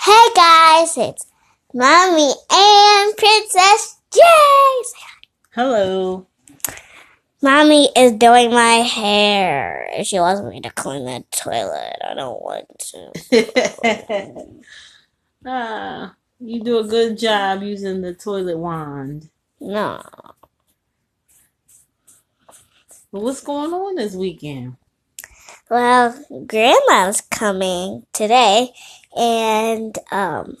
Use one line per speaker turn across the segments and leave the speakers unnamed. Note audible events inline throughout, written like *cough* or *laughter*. Hey guys, it's Mommy and Princess Jace. *laughs*
Hello.
Mommy is doing my hair. She wants me to clean the toilet. I don't want to.
ah, you do a good job using the toilet wand.
No.
But what's going on this weekend?
Well, Grandma's coming today, and um,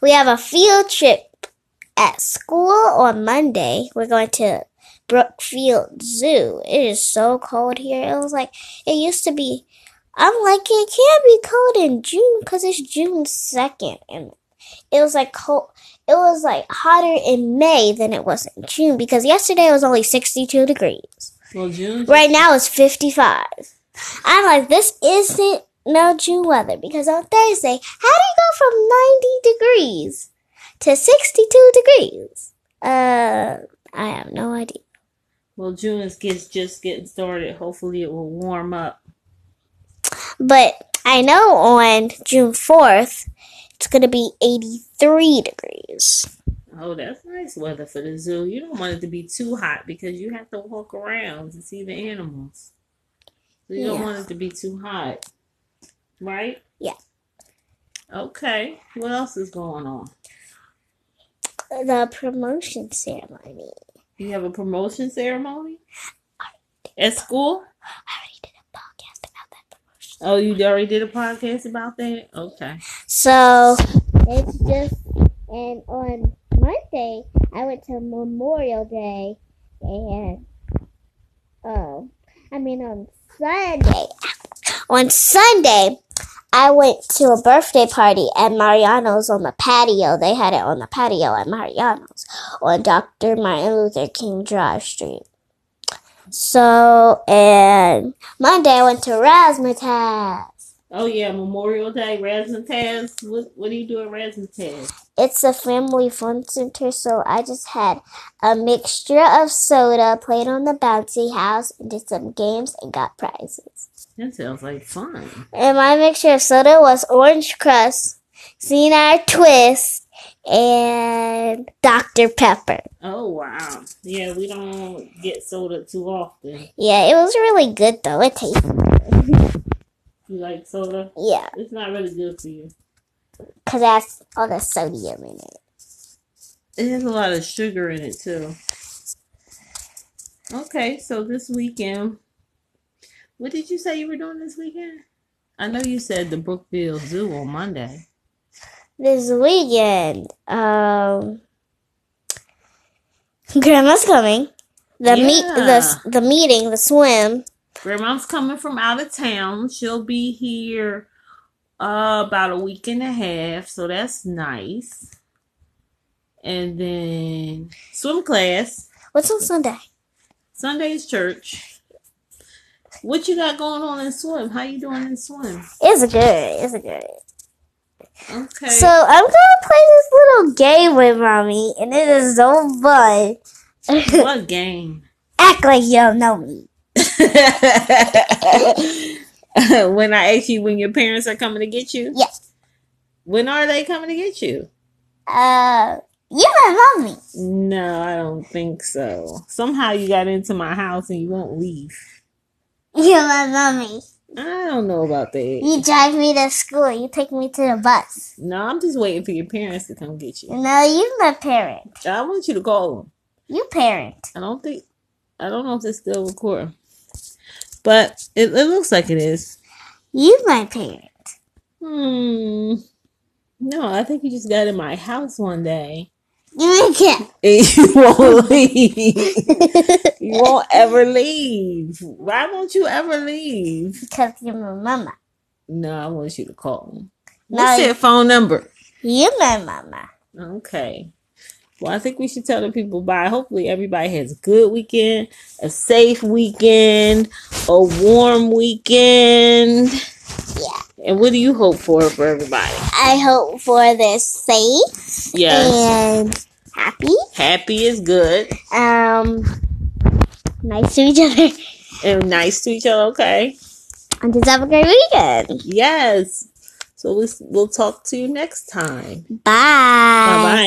we have a field trip at school on Monday. We're going to Brookfield Zoo. It is so cold here. It was like it used to be. I'm like it can't be cold in June because it's June second, and it was like cold. It was like hotter in May than it was in June because yesterday it was only 62 degrees.
Well, June.
Right now it's 55. I'm like, this isn't no June weather because on Thursday, how do you go from 90 degrees to 62 degrees? Uh, I have no idea.
Well, June is gets just getting started. Hopefully, it will warm up.
But I know on June 4th, it's going to be 83 degrees.
Oh, that's nice weather for the zoo. You don't want it to be too hot because you have to walk around to see the animals. So you don't
Yeah.
want it to be too hot, right?
Yeah.
Okay. What else is going on?
The promotion ceremony.
You have a promotion ceremony at school.
I already did a podcast about that promotion.
Oh, you already did a podcast about that? Okay.
So it's just and on Monday I went to Memorial Day and um I mean on Sunday on Sunday I went to a birthday party at Mariano's on the patio. They had it on the patio at Mariano's on Dr. Martin Luther King Drive Street. So and Monday I went to Razzmatazz.
Oh yeah, Memorial Day, Razzmatazz. What what do you do at Razzmatazz?
It's a family fun center, so I just had a mixture of soda, played on the bouncy house, and did some games and got prizes.
That sounds like fun.
And my mixture of soda was orange crust, Xenar twist, and Dr. Pepper.
Oh wow. Yeah, we don't get soda too often.
Yeah, it was really good though. It tasted
You like soda?
yeah,
It's not really good for you.
cause it has all the sodium in it.
It has a lot of sugar in it too. Okay, so this weekend, what did you say you were doing this weekend? I know you said the Brookfield Zoo on Monday.
This weekend, um, Grandma's coming. The meet the the meeting, the swim.
Grandma's coming from out of town. She'll be here uh, about a week and a half, so that's nice. And then swim class,
What's on Sunday?
Sunday's church. What you got going on in swim? How you doing in swim?
It's good. It's good.
Okay.
So I'm gonna play this little game with mommy, and it is so fun.
*laughs* what game?
Act like you don't know me.
when I ask you when your parents are coming to get you?
Yes.
When are they coming to get you?
Uh, you my mommy.
No, I don't think so. Somehow you got into my house and you won't leave.
You my mommy.
I don't know about that.
You drive me to school. You take me to the bus.
No, I'm just waiting for your parents to come get you.
No, you my parent.
I want you to call them.
You parent.
I don't think, I don't know if it's still recording, but it, it looks like it is.
You my parent.
Hmm. No, I think you just got in my house one day
You my cat.
and you won't leave. You won't ever leave. Why won't you ever leave?
because you're my mama.
No, I want you to call them.
No,
What's their phone number?
You my mama.
Okay. Well, I think we should tell the people bye. Hopefully, everybody has a good weekend, a safe weekend, a warm weekend.
Yeah.
And what do you hope for for everybody?
I hope for they're safe
Yes.
and happy.
Happy is good
um nice to each other
and nice to each other. Okay.
and just have a great weekend.
Yes. So we, we'll talk to you next time.
Bye.
Bye bye.